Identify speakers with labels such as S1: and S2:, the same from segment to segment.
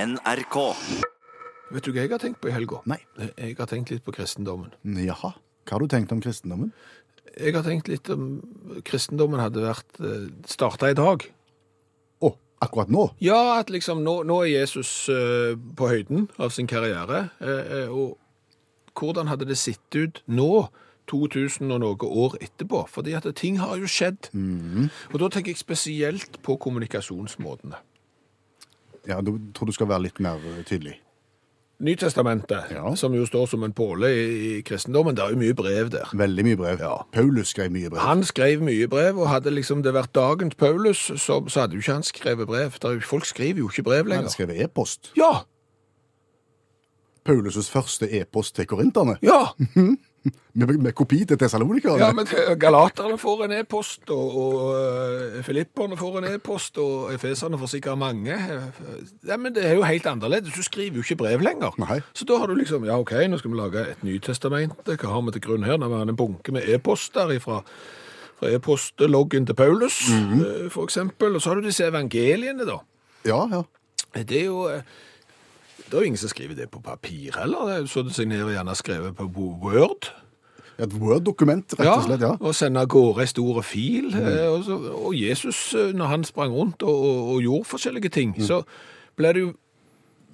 S1: NRK.
S2: Vet du hva jeg har tenkt på i helga?
S3: Nei.
S2: Jeg har tenkt litt på kristendommen.
S3: Jaha. Hva har du tenkt om kristendommen?
S2: Jeg har tenkt litt om kristendommen hadde vært starta i dag.
S3: Å, akkurat nå?
S2: Ja, at liksom nå, nå er Jesus eh, på høyden av sin karriere. eh, eh, og hvordan hadde det sett ut nå, 2000 og noe år etterpå? Fordi at ting har jo skjedd. Og da tenker jeg spesielt på kommunikasjonsmåtene.
S3: Ja, Du tror du skal være litt mer eh, tydelig.
S2: Nytestamentet,
S3: Ja.
S2: som jo står som en påle i, i kristendommen, det er jo mye brev der.
S3: Veldig mye brev. Paulus skrev mye brev.
S2: Han skrev mye brev, og hadde liksom det vært dagens Paulus, så, så hadde jo ikke han skrevet brev. Der, folk skriver jo ikke brev
S3: Han
S2: lenger.
S3: skrev e-post.
S2: Ja!
S3: Paulus' første e-post til korinterne.
S2: Ja!
S3: Med, med kopi til tessalonikerne.
S2: ja men eh, Galaterne får en e-post, og, og eh, filipperne får en e-post, og efeserne får sikkert mange. Eh, Ja, men det er jo helt annerledes. Du skriver jo ikke brev lenger.
S3: Nei.
S2: Så da har du liksom Ja, OK, nå skal vi lage et nytestament. Hva har vi til grunn her? Nå har vi en bunke med e-poster ifra fra e-postloggen til Paulus,
S3: Mhm.
S2: eh, for eksempel. Og så har du disse evangeliene, da.
S3: ja, ja.
S2: Det er jo eh, det er jo ingen som skriver det på papir heller. Det er jo Så du signerer gjerne skrevet på bo- Word.
S3: Et Word-dokument, rett og slett. ja. Mm.
S2: Og sender av gårde ei stor fil. eh, Og, så, og Jesus, eh, når han sprang rundt og, og, og gjorde forskjellige ting,
S3: Mm.
S2: så ble det jo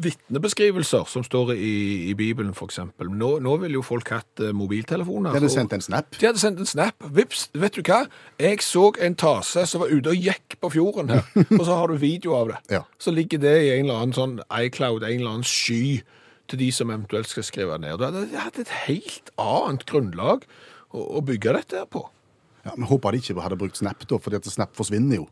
S2: vitnebeskrivelser som står i, i Bibelen, f.eks. Nå, nå ville jo folk hatt eh, mobiltelefoner.
S3: De hadde
S2: og-
S3: sendt en snap.
S2: de hadde sendt en snap. Vips, vet du hva? Jeg så en tase som var ute og gikk på fjorden her, og så har du video av det.
S3: Ja.
S2: Så ligger det i en eller annen sånn iCloud, en eller annen sky, til de som eventuelt skal skrive ned. Da hadde jeg hatt et helt annet grunnlag å, å bygge dette her på.
S3: Ja, men Håper de ikke hadde brukt snap, da, for snap forsvinner jo.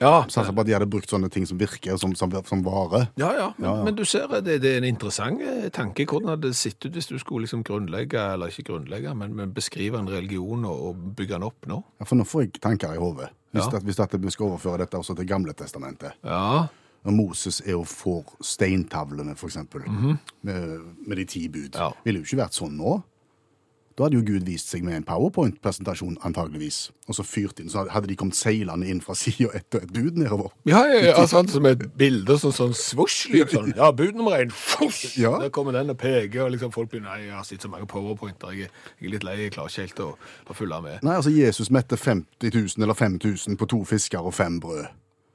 S2: Ja,
S3: Satser på at de hadde brukt sånne ting som virker, som, som, som varer.
S2: Ja, ja, men,
S3: Ja, ja.
S2: men du ser det, det er en interessant eh, tanke. Hvordan hadde det sett ut hvis du skulle liksom grunnlegge, eller ikke grunnlegge, men, men beskrive en religion og, og bygge den opp nå?
S3: Ja, For nå får jeg tanker i hodet. Hvis,
S2: Ja.
S3: at, hvis at vi skal overføre dette også til gamle testamentet.
S2: Ja,
S3: Når Moses er og får steintavlene, for eksempel, med, med de ti bud.
S2: Ja.
S3: Ville jo ikke vært sånn nå. Da hadde jo Gud vist seg med en powerpoint-presentasjon, antageligvis. Og så fyrt inn, så hadde de kommet seilende inn fra sida ett og ett bud nedover.
S2: Ja, ja, ja sånn som et bilde, sånn, sånn svosj-lyd. Sånn. Ja, bud nummer én. Fush!
S3: Ja.
S2: Der kommer den og peker, og liksom folk begynner Nei, jeg har sett så mange powerpointer, jeg, er- jeg er litt lei, jeg klarer ikke helt å, å følge med.
S3: Nei, altså Jesus mette 50 000 eller 5000 på to fisker og fem brød.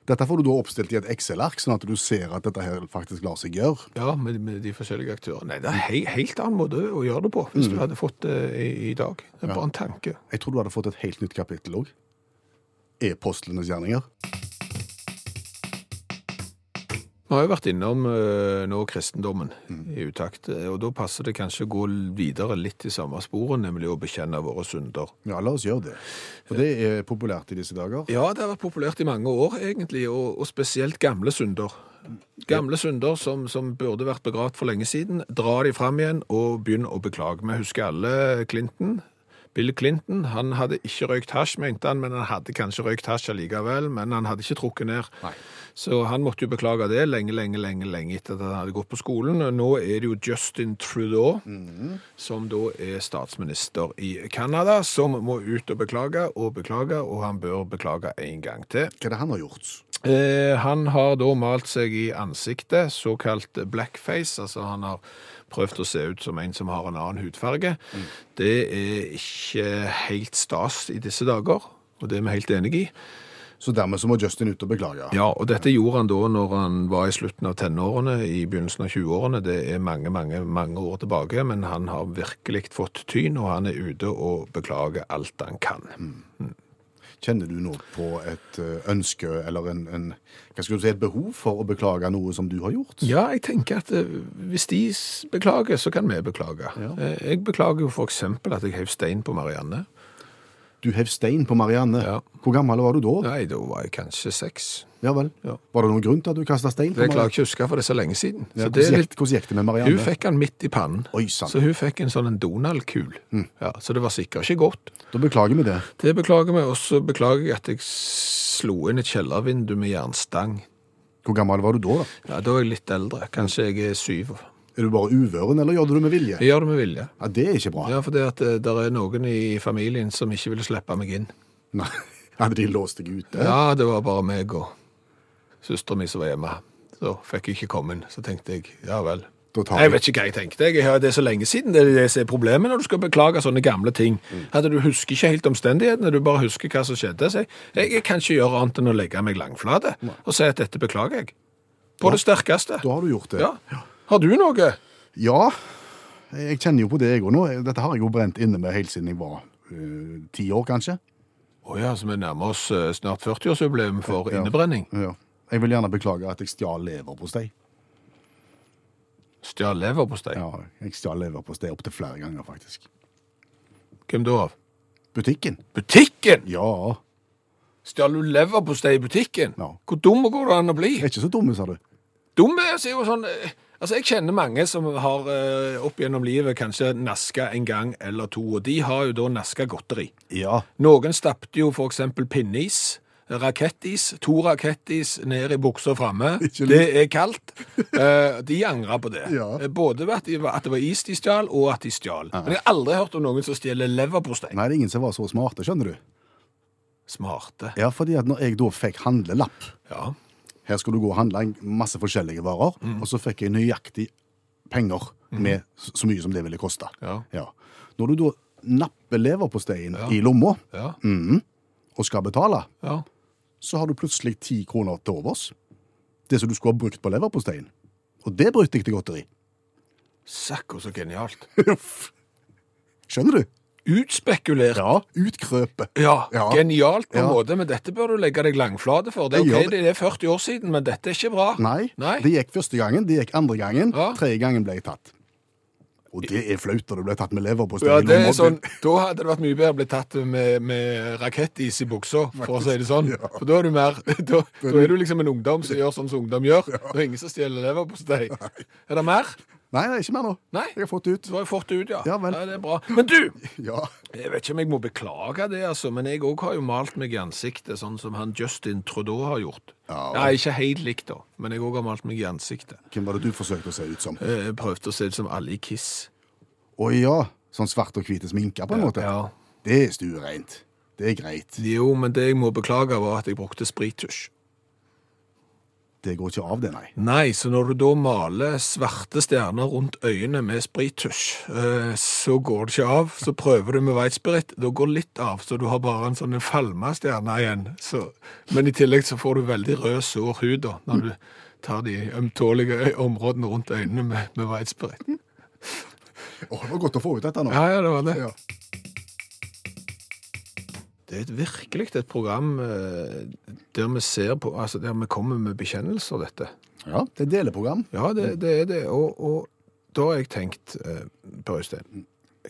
S3: Dette får du da oppstilt i et Excel-ark, sånn at du ser at dette her faktisk lar seg gjøre.
S2: Ja, med, med de forskjellige aktørene. Nei, det er en he helt annen måte å gjøre det på, hvis du hadde fått det i, i dag. Det er bare en tanke.
S3: Jeg tror du hadde fått et helt nytt kapittel òg. E-postlenes gjerninger.
S2: Vi har jo vært innom eh, nå kristendommen i utakt, eh, og da passer det kanskje å gå videre litt i samme sporet, nemlig å bekjenne våre synder.
S3: Ja, la oss gjøre det. For det er populært i disse dager.
S2: Ja, det har vært populært i mange år, egentlig, og, og spesielt gamle synder. Gamle synder som, som burde vært begravd for lenge siden. Dra de fram igjen og begynn å beklage. Vi husker alle Clinton. Bill Clinton han hadde ikke røykt hasj, mente han, men han hadde kanskje røykt hasj allikevel, men han hadde ikke trukket ned. Så han måtte jo beklage det lenge, lenge, lenge lenge etter at han hadde gått på skolen. Og Nå er det jo Justin Trudeau, som da er statsminister i Canada, som må ut og beklage og beklage, og han bør beklage en gang til.
S3: Hva er det han har gjort?
S2: Eh, han har da malt seg i ansiktet, såkalt blackface, altså han har prøvd å se ut som en som har en annen hudfarge. Det er ikke helt stas i disse dager, og det er vi helt enige i.
S3: Så dermed så må Justin ut og beklage.
S2: Ja, og dette gjorde han da når han var i slutten av tenårene, i begynnelsen av 20-årene. Det er mange, mange, mange år tilbake, men han har virkelig fått tyn, og han er ute og beklager alt han kan.
S3: Kjenner du nå på et eh, ønske eller en, en, hva skal du si, et behov for å beklage noe som du har gjort?
S2: Ja, jeg tenker at eh, hvis de s- beklager, så kan vi beklage. Eh, Jeg beklager jo for eksempel at jeg hev stein på Marianne.
S3: Du hev stein på Marianne.
S2: Ja.
S3: Hvor gammel var du da? Ja,
S2: Nei, da var jeg kanskje seks.
S3: vel.
S2: Ja.
S3: Var det noen grunn til at du kasta stein på
S2: Det klarer
S3: Marianne?
S2: jeg ikke å huske, for det er så lenge siden.
S3: Ja,
S2: Så det er
S3: hvordan,
S2: litt...
S3: gikk, hvordan gikk det med Marianne?
S2: Hun fikk han midt i pannen.
S3: Oi, sant.
S2: Så hun fikk en sånn en Donald-kul. Ja, så det var sikkert ikke godt.
S3: Da beklager vi det.
S2: Det beklager meg, og så beklager jeg at jeg slo inn et kjellervindu med jernstang.
S3: Hvor gammel var du da? da?
S2: Ja, Da er jeg litt eldre. Kanskje jeg er syv.
S3: Er du bare uvøren, eller gjør du det med vilje?
S2: Jeg gjør det med vilje.
S3: Ja, Det er ikke bra.
S2: Ja, for det at det er noen i familien som ikke ville slippe meg inn.
S3: Nei. Hadde de låst deg ute?
S2: Ja, det var bare meg og søsteren min som var hjemme. Da fikk jeg ikke komme inn. Så tenkte jeg ja vel.
S3: Da tar
S2: Jeg
S3: vi-
S2: vet ikke hva jeg tenkte. Jeg har det er så lenge siden. Det er det som er problemet når du skal beklage sånne gamle ting. At du husker ikke helt omstendighetene, du bare husker hva som skjedde. Så jeg, jeg kan ikke gjøre annet enn å legge meg langflate og si at dette beklager jeg. På det sterkeste.
S3: Da har du gjort det.
S2: Ja. Har du noe?
S3: Ja, jeg kjenner jo på det jeg òg nå. Dette har jeg jo brent inne med helt siden jeg var øh, ti år, kanskje.
S2: Å ja, så vi nærmer oss eh, snart 40-årsjubileum for innebrenning.
S3: Ja. Jeg vil gjerne beklage at jeg stjal leverpostei.
S2: Stjal leverpostei.
S3: Ja, jeg stjal leverpostei opptil flere ganger, faktisk.
S2: Hvem da? av?
S3: Butikken?
S2: Butikken!
S3: Ja.
S2: Stjal du leverpostei i butikken?
S3: Ja.
S2: Hvor dum går det an å bli?
S3: Jeg er ikke så dumme, sa du.
S2: Dum er så er jo sånn eh, Altså, Jeg kjenner mange som har eh, opp gjennom livet kanskje naska en gang eller to, og de har jo da naska godteri.
S3: Ja.
S2: Noen stappte jo for eksempel pinneis, rakettis, to rakettis ned i buksa framme.
S3: Ikke lurt.
S2: Det er kaldt. Eh, de angrer på det.
S3: Ja.
S2: Eh, Både ved at, de, at det var is de stjal, og at de stjal. Men jeg har aldri hørt om noen som stjeler leverpostei.
S3: Nei, det er ingen som var så smarte, skjønner du.
S2: Smarte.
S3: Ja, fordi at når jeg da fikk handlelapp
S2: Ja.
S3: Her skulle du gå og handle en masse forskjellige varer, og så fikk jeg nøyaktig penger med s- så mye som det ville koste.
S2: Ja.
S3: Når du da napper leverposteien i lomma
S2: Ja.
S3: Mm. og skal betale,
S2: ja.
S3: så har du plutselig ti kroner til overs. Det som du skulle ha brukt på leverposteien. Og det brukte jeg til godteri.
S2: Sakko så genialt.
S3: Skjønner du?
S2: Utspekulert.
S3: Ja. Utkrøpet.
S2: Ja,
S3: Ja.
S2: genialt på en
S3: Ja.
S2: måte, men dette bør du legge deg langflate for. Det er
S3: Jeg
S2: ok,
S3: gjør
S2: det er 40 år siden, men dette er ikke bra.
S3: Nei,
S2: Nei.
S3: det gikk første gangen, det gikk andre gangen,
S2: Ja.
S3: tredje gangen ble jeg tatt. Og det er flaut når du ble tatt med leverpostei.
S2: Ja,
S3: i
S2: det er
S3: lomma.
S2: sånn, da hadde det vært mye bedre å bli tatt med, med rakettis i buksa, for å si det sånn.
S3: Ja.
S2: For da er du mer da, da er du liksom en ungdom som gjør sånn som ungdom gjør. Det er ingen som stjeler leverpostei. Er det mer?
S3: Nei, nei, ikke mer nå.
S2: Nei.
S3: Jeg har fått det ut.
S2: Du har jo fått det ut, ja.
S3: Ja, vel.
S2: det er bra. Men du!
S3: Ja.
S2: Jeg vet ikke om jeg må beklage det, altså, men jeg òg har jo malt meg i ansiktet, sånn som han Justin Trudeau har gjort.
S3: Ja.
S2: Nei, ikke helt likt, da, men jeg òg har malt meg i ansiktet.
S3: Hvem var det du forsøkte å se ut som?
S2: Eh, Jeg prøvde å se det som alle i Kiss.
S3: Å ja, sånn svart og hvite sminker på en måte.
S2: Ja.
S3: Det er stuereint. Det er greit.
S2: Jo, men det jeg må beklage, var at jeg brukte sprittusj.
S3: Det går ikke av det, nei.
S2: Nei, så når du da maler svarte stjerner rundt øynene med sprittusj, eh, så går det ikke av. Så prøver du med white spirit, da går litt av, så du har bare en sånn en falma stjerne igjen. Så, men i tillegg så får du veldig rød, sår hud da, når du tar de ømtålige øy- områdene rundt øynene med, med white spirit.
S3: Å, det var godt å få ut dette nå.
S2: Ja, ja, det var det.
S3: Ja.
S2: Det er et virkelig et program eh, der vi ser på, altså der vi kommer med bekjennelser, dette.
S3: Ja, det er deleprogram.
S2: Ja, det, det er det. Og, og da har jeg tenkt, eh, Per Øystein,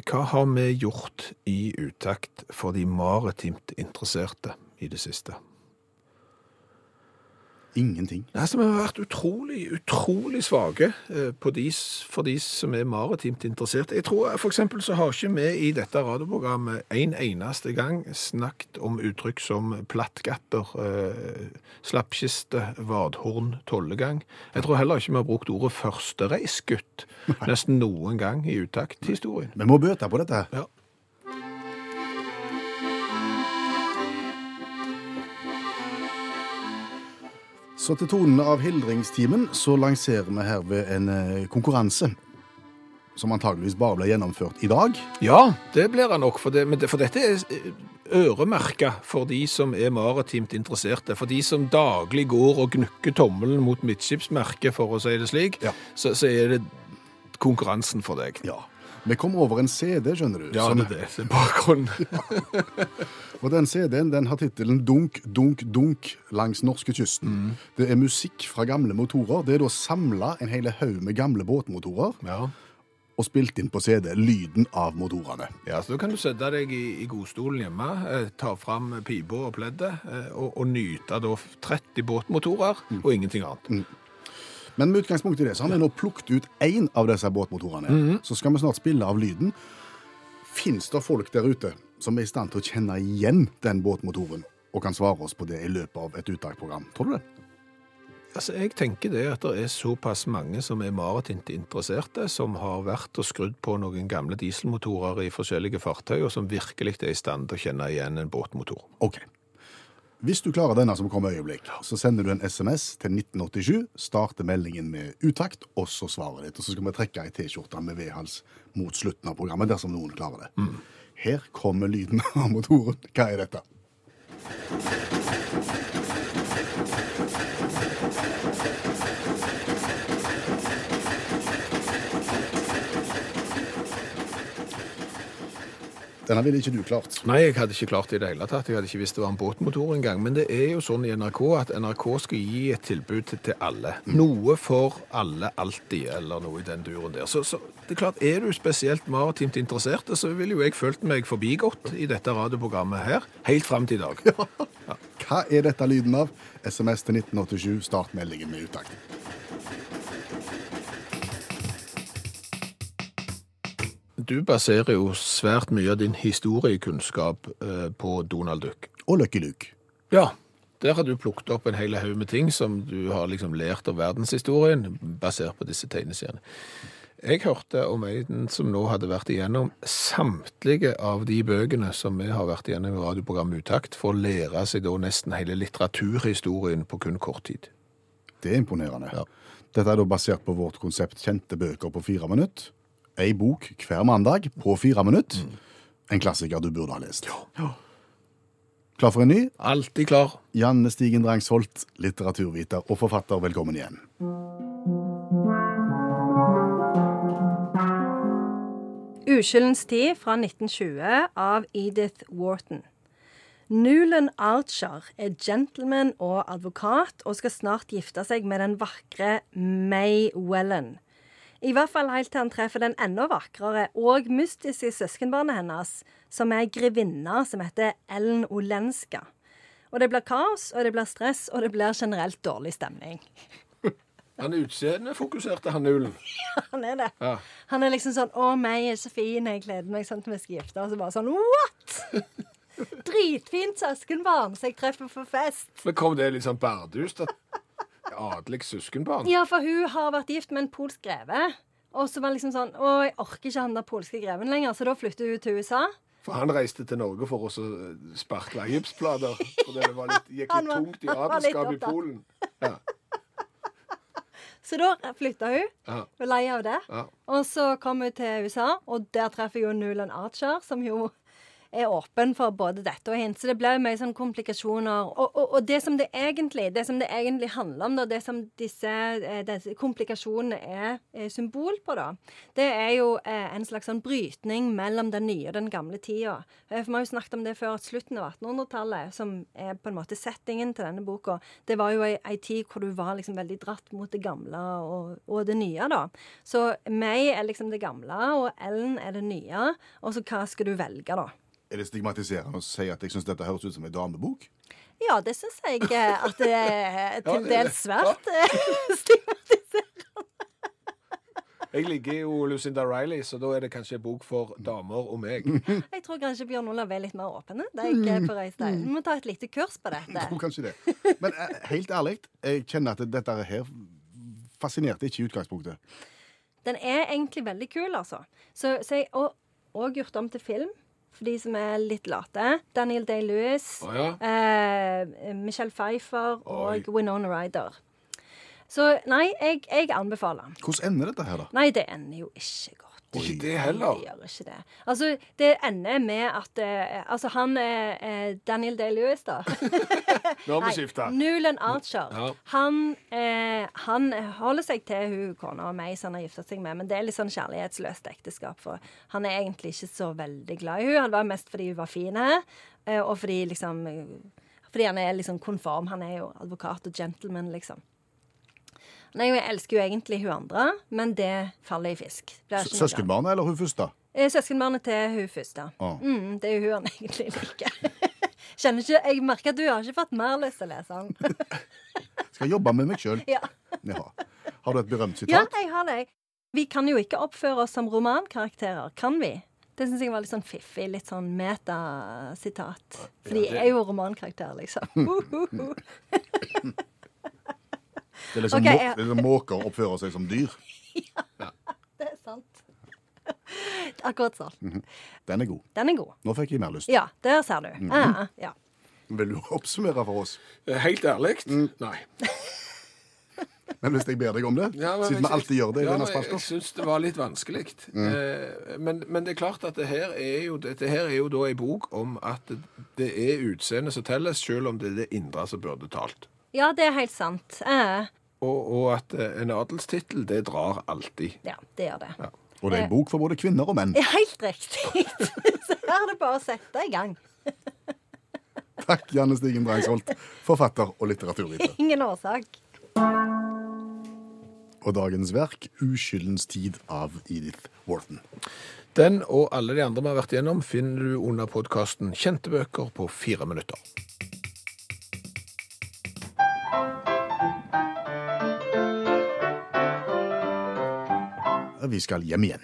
S2: hva har vi gjort i utakt for de maritimt interesserte i det siste?
S3: Ingenting.
S2: Altså, vi har vært utrolig, utrolig svage eh, på de, s- for de som er maritimt interesserte. Jeg tror eh, for eksempel så har ikke vi i dette radioprogrammet en eneste gang snakket om uttrykk som plattgatter, eh, slappkiste, vadhorn, tollegang. Jeg tror heller ikke vi har brukt ordet førstereisgutt nesten noen gang i utakthistorien.
S3: Vi må bøte på dette.
S2: Ja.
S3: Så til tonen av hildringstimen så lanserer vi herved en eh, konkurranse. Som antageligvis bare ble gjennomført i dag.
S2: Ja, det blir han nok. For, det, men det, for dette er øremerka for de som er maritimt interesserte. For de som daglig går og gnukker tommelen mot midtskipsmerket, for å si det slik,
S3: Ja.
S2: så, så er det konkurransen for deg.
S3: Ja. Vi kom over en CD, skjønner du.
S2: Ja,
S3: som-
S2: det er det. Det er bakgrunnen.
S3: Og den CD-en den har tittelen Dunk, dunk, dunk langs norskekysten.
S2: Mm.
S3: Det er musikk fra gamle motorer. Det er da samla en hel haug med gamle båtmotorer
S2: Ja.
S3: og spilt inn på CD lyden av motorene.
S2: ja, så da kan du sette deg i, i godstolen hjemme, eh, ta fram pipa og pleddet, eh, og, og nyte da 30 båtmotorer og ingenting annet.
S3: Men med utgangspunkt i det så har vi nå plukket ut én av disse båtmotorene. Så skal vi snart spille av lyden. Fins det folk der ute som er i stand til å kjenne igjen den båtmotoren? Og kan svare oss på det i løpet av et uttaksprogram. Tror du det?
S2: Altså, Jeg tenker det at det er såpass mange som er maritimt interesserte, som har vært og skrudd på noen gamle dieselmotorer i forskjellige fartøy, og som virkelig er i stand til å kjenne igjen en båtmotor.
S3: OK. Hvis du klarer denne som kommer i øyeblikk, så sender du en SMS til 1987, starter meldingen med utakt, og så svaret ditt. Og så skal vi trekke ei T-skjorte med V-hals mot slutten av programmet, dersom noen klarer det. Her kommer lyden av motoren. Hva er dette? Denne ville ikke du klart.
S2: Nei, jeg hadde ikke klart det i det hele tatt. Jeg hadde ikke visst det var en båtmotor engang. Men det er jo sånn i NRK at NRK skal gi et tilbud til- til alle. Noe for alle alltid, eller noe i den duren der. Så, så det er klart, er du spesielt maritimt interessert, så ville jo jeg følt meg forbigått i dette radioprogrammet her, helt frem til i dag.
S3: Hva er dette lyden av? SMS til 1987, start meldingen med utakt.
S2: Du baserer jo svært mye av din historiekunnskap eh, på Donald Duck.
S3: Og Lucky Luke.
S2: Ja. Der har du plukket opp en hel haug med ting som du har liksom lært av verdenshistorien, basert på disse tegneseriene. Jeg hørte om en som nå hadde vært igjennom samtlige av de bøkene som vi har vært igjennom i radioprogrammet Utakt, for å lære seg da nesten hele litteraturhistorien på kun kort tid.
S3: Det er imponerende.
S2: Ja.
S3: Dette er da basert på vårt konsept kjente bøker på fire minutt. Ei bok hver mandag på fire minutt. En klassiker du burde ha lest. Klar for en ny?
S2: Alltid klar.
S3: Janne Stigen Drangsholt, litteraturviter og forfatter, velkommen igjen.
S1: Uskyldens tid fra 1920 av Edith Wharton. Nulan Archer er gentleman og advokat og skal snart gifte seg med den vakre May Wellen. I hvert fall helt til han treffer den enda vakrere og mystiske søskenbarnet hennes, som er ei grevinne som heter Ellen Olenska. Og det blir kaos, og det blir stress, og det blir generelt dårlig stemning.
S2: Han utseendefokuserte, han Nulen.
S1: Han er det.
S2: Ja.
S1: Han er liksom sånn 'Å, meg er så fin. Jeg gleder meg sånn til vi skal gifte oss.' Og bare sånn 'What?!' Dritfint søskenbarn som jeg treffer på fest.
S2: Men kom det litt sånn bardust? Adelig søskenbarn?
S1: Ja, for hun har vært gift med en polsk greve. Og så var det liksom sånn 'Å, jeg orker ikke han der polske greven lenger.' Så da flytter hun til USA.
S2: For han reiste til Norge for å så eh, sparkle gipsplater. Fordi det var litt, gikk
S1: Han
S2: litt
S1: var-
S2: tungt i
S1: han var litt
S2: adelskapet i
S1: opptatt.
S2: Polen. Ja,
S1: Så da flytta hun.
S2: ja,
S1: Hun er lei av det.
S2: ja.
S1: Og så kom hun til USA, og der treffer hun Nulan Archer, som jo er åpen for både dette og hint. Så det ble jo mye sånn komplikasjoner. Og, og, og det som det egentlig det som det egentlig handler om, da, det som disse, eh, disse komplikasjonene er eh, symbol på, da, det er jo eh, en slags sånn brytning mellom den nye og den gamle tida. Eh, For vi har jo snakket om det før, at slutten av 1800-tallet, som er på en måte settingen til denne boka, det var jo ei, ei tid hvor du var liksom veldig dratt mot det gamle og, og det nye, da. Så meg er liksom det gamle, og Ellen er det nye. Og så hva skal du velge, da?
S3: Er det stigmatiserende å si at jeg syns dette høres ut som en damebok?
S1: Ja, det syns jeg eh, at det er
S2: Ja,
S1: til
S2: det er det.
S1: dels svært eh, stigmatisert.
S2: Jeg ligger jo Lucinda Riley, så da er det kanskje en bok for damer og meg.
S3: Mm.
S1: Jeg tror kanskje Bjørn Olav er litt mer åpen. eh, Det er jeg
S2: Mm.
S1: eh, på reis til. Vi må ta et lite kurs på dette.
S3: Tror kanskje det. Men eh, helt ærlig, jeg kjenner at dette her fascinerte ikke i utgangspunktet.
S1: Den er egentlig veldig kul, altså. Så, så jeg og, og gjort om til film, for de som er litt late. Daniel Day-Lewis,
S2: Å ja.
S1: eh, Michelle Pfeiffer
S2: Oi.
S1: og Winona Ryder. Så nei, jeg, jeg anbefaler.
S3: Hvordan ender dette her, da?
S1: Nei, det ender jo ikke godt.
S2: Ikke det heller.
S1: Det gjør ikke det. Altså, det ender med at eh, Altså, han eh, eh, Daniel Day-Lewis, da.
S2: Nå har vi skifta.
S1: Nulan Archer.
S2: Ja.
S1: Han, eh, han holder seg til hun kona og meg som han har gifta seg med, men det er litt sånn kjærlighetsløst ekteskap. For han er egentlig ikke så veldig glad i hun. Han var mest fordi hun var fin, eh, og fordi liksom Fordi han er liksom konform. Han er jo advokat og gentleman, liksom. Nei, Jeg elsker jo egentlig hun andre, men det faller i fisk. Det er
S3: S-
S1: ikke noe annet.
S3: Søskenbarnet eller hun første?
S1: Eh, Søskenbarnet til hun første.
S3: Ah.
S1: Mm, det er jo hun han egentlig liker. Kjenner ikke, Jeg merker at du har ikke fått mer lyst til å lese den.
S3: Skal jobbe med meg sjøl.
S1: Ja.
S3: Ja. Har du et berømt
S1: ja,
S3: sitat?
S1: jeg har det. Vi kan jo ikke oppføre oss som romankarakterer, kan vi? Det syns jeg var litt sånn fiffig. Litt sånn metasitat. For de
S2: det-
S1: er jo romankarakterer, liksom.
S3: Det er liksom,
S1: Ok,
S3: må-
S1: jeg-
S3: det er liksom måker oppfører seg som dyr.
S1: det er sant. Akkurat sånn.
S3: Den er god.
S1: Den er god.
S3: Nå fikk jeg mer lyst.
S1: Ah, Ja, der ser du. Ja, ja.
S3: Vil du oppsummere for oss?
S2: Eh, Helt ærlig,
S3: Mm.
S2: nei.
S3: Men hvis jeg ber deg om det,
S2: Ja, men
S3: siden
S2: jeg-
S3: vi alltid gjør det i
S2: ja,
S3: denne
S2: men
S3: spalten. Mm.
S2: Jeg syns det var litt vanskelig. Eh, men, men det er klart at det her er jo, dette her er jo da en bok om at det er utseendet som telles, selv om det er det indre som burde talt.
S1: Ja, det er helt sant. Eh,
S2: Og, og at eh, en adelstittel, det drar alltid.
S1: ja, det gjør det.
S3: Og det er en bok for både kvinner og menn.
S1: Det er helt riktig. Så her er det bare å sette i gang.
S3: Takk, Janne Stigen Breisholt, forfatter og litteraturviter.
S1: Ingen årsak.
S3: Og dagens verk, 'Uskyldens tid' av Edith Wharton.
S2: Den og alle de andre vi har vært gjennom, finner du under podkasten Kjente bøker på fire minutter.
S3: Vi skal hjem igjen.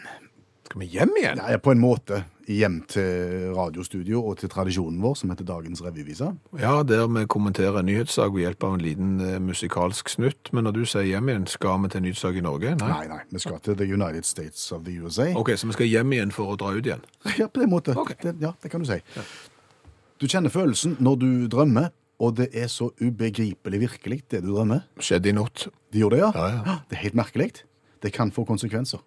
S2: Skal vi hjem igjen?
S3: Nei, på en måte hjem til radiostudio og til tradisjonen vår, som heter Dagens revyvise.
S2: Ja, der vi kommenterer en nyhetssak ved hjelp av en liten eh, musikalsk snutt. Men når du sier hjem igjen, skal vi til en nyhetssak i Norge? Nei.
S3: Nei, nei, vi skal til The United States of the USA.
S2: OK, så vi skal hjem igjen for å dra ut igjen?
S3: Ja, på den måten.
S2: Ok.
S3: Det, ja, det kan du si. Du kjenner følelsen når du drømmer, og det er så ubegripelig virkelig, det du drømmer.
S2: Skjedde i natt.
S3: De gjorde det, ja?
S2: Ja, ja.
S3: Hå, Det er helt merkelig. Det kan få konsekvenser.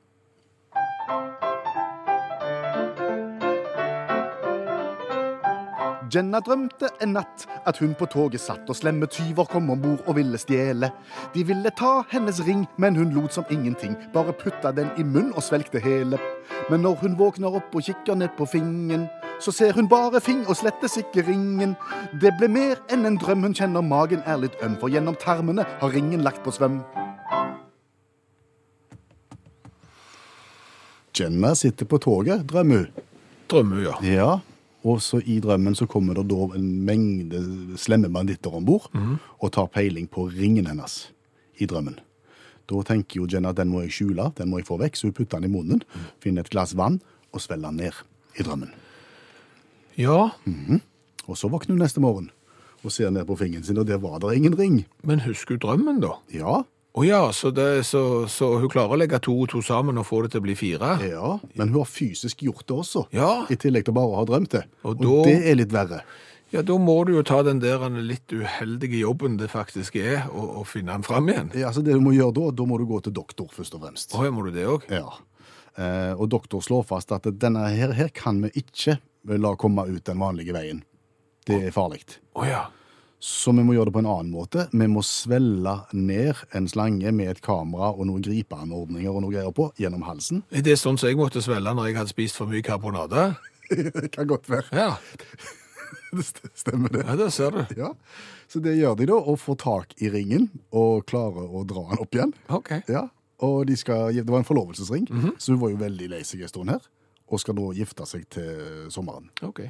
S3: Jenna drømte en natt at hun på toget satt og slemme tyver kom om bord og ville stjele. De ville ta hennes ring, men hun lot som ingenting. Bare putta den i munnen og svelgte hele. Men når hun våkner opp og kikker ned på fingeren, så ser hun bare fing og slettes ikke ringen. Det ble mer enn en drøm, hun kjenner magen er litt øm, for gjennom tarmene har ringen lagt på svøm. Jenna sitter på toget, drømmer hun.
S2: Drømmer, ja.
S3: Ja, og så i drømmen så kommer det da en mengde slemme banditter om bord
S2: Mhm.
S3: og tar peiling på ringen hennes i drømmen. Da tenker jo Jenna at den må jeg skjule, den må jeg få vekk, så hun putter den i munnen, finner et glass vann og svelger den ned i drømmen.
S2: Ja,
S3: Og så våkner hun neste morgen og ser ned på fingeren sin, og der var det ingen ring.
S2: men husker hun drømmen, da?
S3: Ja,
S2: Å ja, så, det, så, så hun klarer å legge to og to sammen og få det til å bli fire?
S3: ja, men hun har fysisk gjort det også,
S2: Ja.
S3: i tillegg til bare å ha drømt det.
S2: Og
S3: Og,
S2: da-
S3: det er litt verre.
S2: Ja, da må du jo ta den der litt uheldige jobben det faktisk er, og, og finne den fram igjen.
S3: Ja, altså det du må gjøre da, da må du gå til doktor først og fremst.
S2: Å ja, må du det òg?
S3: Ja. Eh, og doktor slår fast at denne her, her kan vi ikke la komme ut den vanlige veien. Det er farlig.
S2: Å ja.
S3: Så vi må gjøre det på en annen måte. Vi må svelle ned en slange med et kamera og noen gripeanordninger og noe greier på gjennom halsen.
S2: Er det sånn som jeg måtte svelge når jeg hadde spist for mye karbonade?
S3: det kan godt være.
S2: Ja,
S3: Det st- stemmer det.
S2: ja der ser du.
S3: Ja. Så det gjør de da, og får tak i ringen og klarer å dra den opp igjen.
S2: OK.
S3: Ja, og de skal, det var en forlovelsesring, så hun var jo veldig lei seg en stund her, og skal nå gifte seg til sommeren.
S2: ok.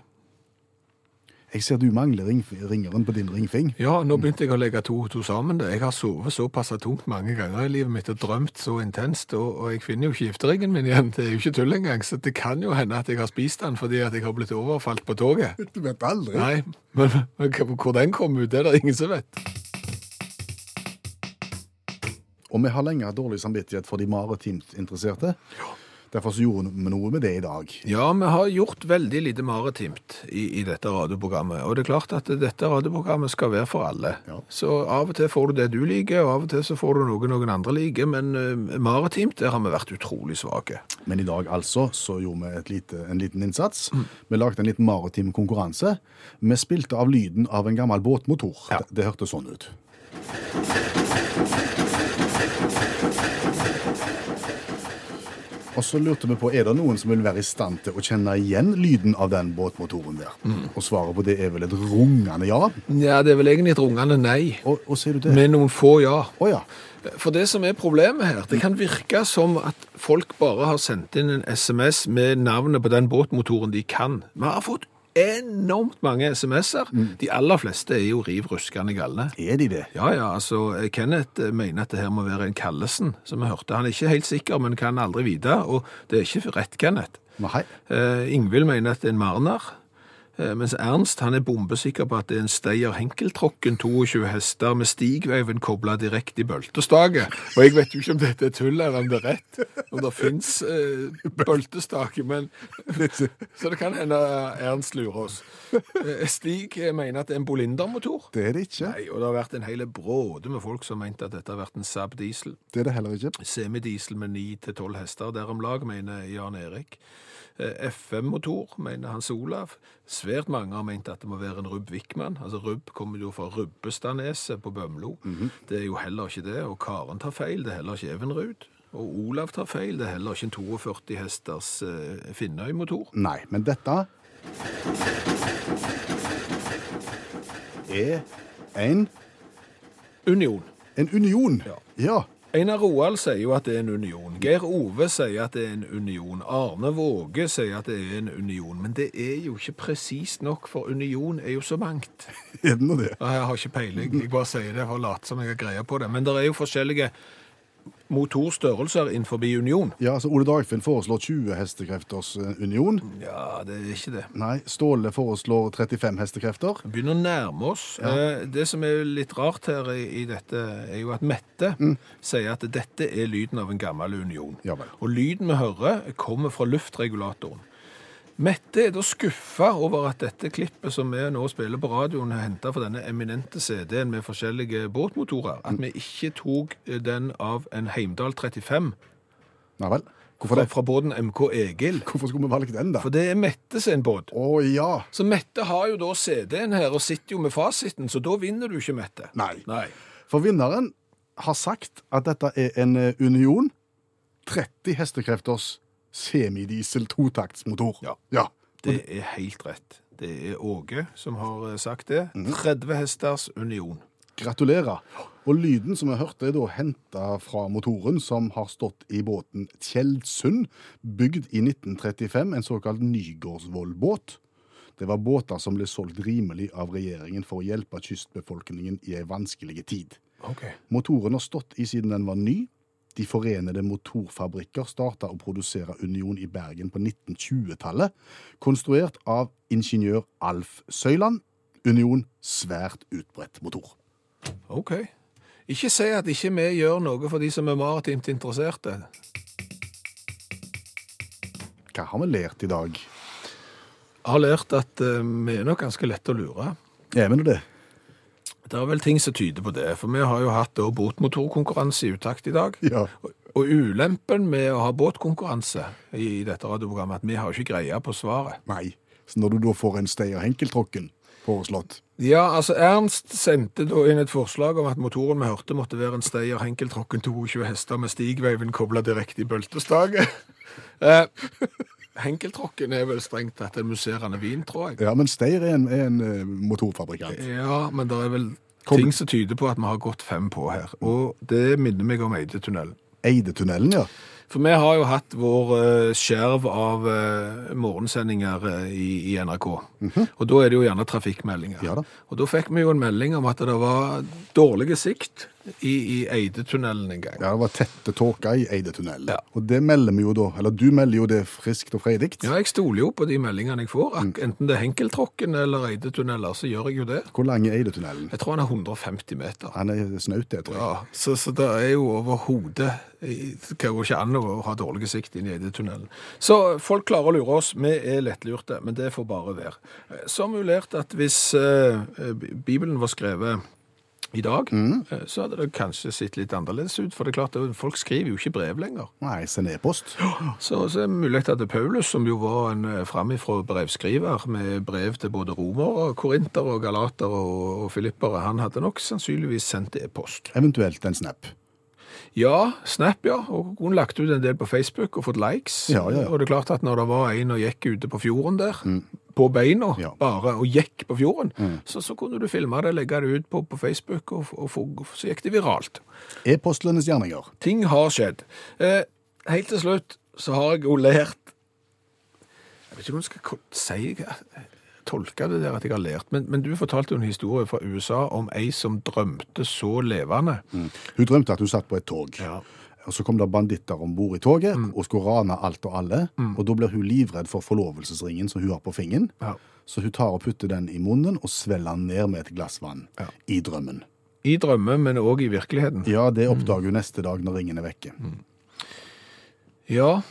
S3: Jeg ser du mangler ring, ringeren på din ringfing.
S2: Ja, nå begynte jeg å legge to og to sammen. det. Jeg har sovet såpass tungt mange ganger i livet mitt og drømt så intenst, og, og jeg finner jo ikke gifteringen min igjen. Det er jo ikke tull engang, så det kan jo hende at jeg har spist den fordi at jeg har blitt overfalt på toget.
S3: Du vet aldri.
S2: Nei, men, men hva- hvor den kom ut, det er det ingen som vet.
S3: Og vi har lenge hatt dårlig samvittighet for de maritimt interesserte. Derfor så gjorde vi noe med det i dag.
S2: Ja, vi har gjort veldig lite maritimt i, i dette radioprogrammet. Og det er klart at dette radioprogrammet skal være for alle.
S3: Ja.
S2: Så av og til får du det du liker, og av og til så får du noe noen andre liker. Men eh, maritimt, der har vi vært utrolig svake.
S3: Men i dag altså så gjorde vi et lite, en liten innsats.
S2: Mm.
S3: Vi lagde en liten maritim konkurranse. Vi spilte av lyden av en gammel båtmotor.
S2: Ja.
S3: Det, det hørte sånn ut. Og så lurte vi på, er det noen som vil være i stand til å kjenne igjen lyden av den båtmotoren der?
S2: Mm.
S3: Og svaret på det er vel et rungende ja.
S2: Ja, det er vel egentlig et rungende nei.
S3: Og, og ser du det?
S2: Med noen få ja.
S3: Å ja.
S2: For det som er problemet her, det kan virke som at folk bare har sendt inn en SMS med navnet på den båtmotoren de kan. Vi har fått enormt mange SMS-er. De aller fleste er jo riv ruskende galne.
S3: Er de det?
S2: Ja, ja, altså eh, Kenneth eh, mener at det her må være en Kallesen, som vi hørte. Han er ikke helt sikker, men kan aldri vite, og det er ikke rett, Kenneth.
S3: Nei.
S2: Eh, Ingvild mener at det er en Marner. Eh, Mens Ernst han er bombesikker på at det er en Steyr Henkeltråkken 22 hester med stigveiven kobla direkte i bøltestaket. Og jeg vet jo ikke om dette er tull eller om det er rett, om det fins eh, bøltestake, men Så det kan hende Ernst lurer oss. Eh, Stig eh, mener at det er en Bolinder-motor.
S3: Det er det ikke.
S2: Nei, og det har vært en hel bråde med folk som mente at dette har vært en Saab diesel.
S3: Det er det heller ikke.
S2: Semidiesel med 9-12 hester der om lag, mener Jan Erik. Eh, FM-motor, mener Hans Olav. Svært mange har ment at det må være en Rubb Wickman. Altså, Rubb kommer jo fra Rubbestadneset på Bømlo. Det er jo heller ikke det. Og Karen tar feil, det er heller ikke Evenrud. Og Olav tar feil, det er heller ikke en 42 hesters eh, Finnøy-motor.
S3: Nei, men dette er en,
S2: Union.
S3: en union.
S2: Ja.
S3: ja.
S2: Einar Roald sier jo at det er en union. Geir Ove sier at det er en union. Arne Våge sier at det er en union. Men det er jo ikke presist nok, for union er jo så mangt.
S3: Er det nå det?
S2: Nei, Jeg har ikke peiling. Jeg bare sier det for å late som jeg har greie på det. Men det er jo forskjellige motorstørrelser innenfor union.
S3: Ja, så Ole Dagfinn foreslår 20 hestekrefters eh, union.
S2: Ja, det er ikke det.
S3: Nei, Ståle foreslår 35 hestekrefter.
S2: Vi begynner å nærme oss. Eh, Det som er litt rart her i, i dette, er jo at Mette sier at dette er lyden av en gammel union.
S3: Mm. Ja vel.
S2: Og lyden vi hører, kommer fra luftregulatoren. Mette er da skuffa over at dette klippet som vi nå spiller på radioen, er henta fra denne eminente CD-en med forskjellige båtmotorer,
S3: Mm.
S2: at vi ikke tok eh, den av en Heimdal 35
S3: Nei vel. Hvorfor
S2: fra,
S3: det?
S2: fra båten MK Egil.
S3: Hvorfor skulle vi valgt den, da?
S2: For det er Mette sin båt.
S3: Å ja.
S2: Så Mette har jo da CD-en her og sitter jo med fasiten, så da vinner du ikke, Mette.
S3: Nei.
S2: Nei.
S3: For vinneren har sagt at dette er en eh, union 30 hestekrefters semidiesel totaktsmotor.
S2: Ja.
S3: ja.
S2: Det er helt rett. Det er Åge som har eh, sagt det. 30 hesters union.
S3: Gratulerer. Og lyden som vi hørte, er da henta fra motoren som har stått i båten Tjeldsund, bygd i 1935, en såkalt Nygårdsvollbåt. Det var båter som ble solgt rimelig av regjeringen for å hjelpe kystbefolkningen i ei vanskelig tid.
S2: Ok.
S3: Motoren har stått i siden den var ny. De forenede motorfabrikker starta å produsere Union i Bergen på 1920-tallet, konstruert av ingeniør Alf Søyland. Union svært utbredt motor.
S2: Ok. Ikke si at ikke vi gjør noe for de som er maritimt interesserte.
S3: Hva har vi lært i dag?
S2: Jeg har lært at eh, vi er nok ganske lette å lure.
S3: Jeg mener det.
S2: Det er vel ting som tyder på det, for vi har jo hatt da båtmotorkonkurranse i utakt i dag.
S3: Ja.
S2: Og ulempen med å ha båtkonkurranse i dette radioprogrammet, at vi har ikke greie på svaret.
S3: Nei. Så når du da får en Steier Henkeltråkken foreslått
S2: Ja, altså Ernst sendte da inn et forslag om at motoren vi hørte måtte være en Steyr Henkeltråkken 22 hester med stigveiven kobla direkte i bøltestaket. Eh, Henkeltråkken er vel strengt tatt en musserende vin, tror jeg.
S3: Ja, men Steier er en, er en eh, motorfabrikant.
S2: Ja, men det er vel
S3: Kom-
S2: ting som tyder på at vi har gått fem på her. Og det minner meg om Eidetunnelen.
S3: Eidetunnelen, ja.
S2: For vi har jo hatt vår eh, skjerv av eh, morgensendinger eh, i, i NRK. Og da er det jo gjerne trafikkmeldinger.
S3: Mhm. Ja da.
S2: Og da fikk vi jo en melding om at det var dårlig sikt i, i Eidetunnelen en gang.
S3: Ja, Det var tette tåka i Eidetunnelen.
S2: Ja.
S3: Og det melder vi jo da, eller du melder jo det friskt og freidig.
S2: Ja, jeg stoler jo på de meldingene jeg får. Ak-
S3: Mm.
S2: Enten det er Henkeltråkken eller Eidetunneler, så gjør jeg jo det.
S3: Hvor lang er Eidetunnelen?
S2: Jeg tror han er 150 meter.
S3: Han er snaut, det, tror jeg.
S2: Ja, så, så det er jo overhodet i- Det går ikke an å ha dårlig sikt inn i Eidetunnelen. Så folk klarer å lure oss. Vi er lettlurte, men det får bare være. Eh, Så har vi jo lært at hvis eh, eh, Bibelen var skrevet i dag, eh, så hadde det kanskje sett litt annerledes ut. For det er klart, det- folk skriver jo ikke brev lenger.
S3: Nei, send e-post.
S2: Så, så er det mulig at det er Paulus, som jo var en eh, framifrå brevskriver med brev til både romere, korintere, og galatere og, og filippere, han hadde nok sannsynligvis sendt e-post.
S3: Eventuelt en snap.
S2: Ja, Snap, ja. Og hun lagt ut en del på Facebook og fått likes.
S3: Ja, ja, ja.
S2: Og det er klart at når det var en og gikk ute på fjorden der, på beina
S3: Ja. Mm.
S2: bare, og gikk på fjorden, så, så kunne du filme det, legge det ut på, på Facebook, og, og, få- så gikk det viralt.
S3: E-postlønnes gjerninger.
S2: Ting har skjedd. Eh, helt til slutt så har jeg jo lært Jeg vet ikke om jeg skal ko- si hva- tolke det der at jeg har lært, men, men du fortalte jo en historie fra USA om ei som drømte så levende.
S3: Hun drømte at hun satt på et tog. Og så kom det banditter om bord i toget og skulle rane alt og alle. Og da blir hun livredd for forlovelsesringen som hun har på fingeren.
S2: Ja.
S3: Så hun tar og putter den i munnen og svelger den ned med et glass vann. I drømmen.
S2: I drømme, men òg i virkeligheten.
S3: Ja, det oppdager hun neste dag når ringen er vekke.
S2: Ja,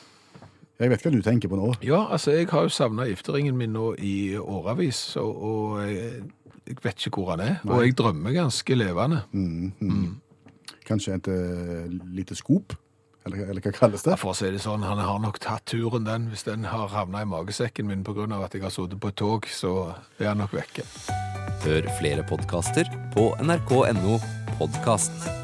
S3: Jeg vet hva du tenker på nå.
S2: ja altså, jeg har jo savna gifteringen min nå i årevis, og, og jeg, jeg vet ikke hvor han er. Og jeg drømmer ganske levende.
S3: Kanskje et eh, lite skop? Eller, eller hva kalles det?
S2: For å si det sånn, han har nok tatt turen, den. Hvis den har havna i magesekken min pga. at jeg har sittet på et tog, så er han nok vekke.
S4: Hør flere podkaster på nrk.no podkast.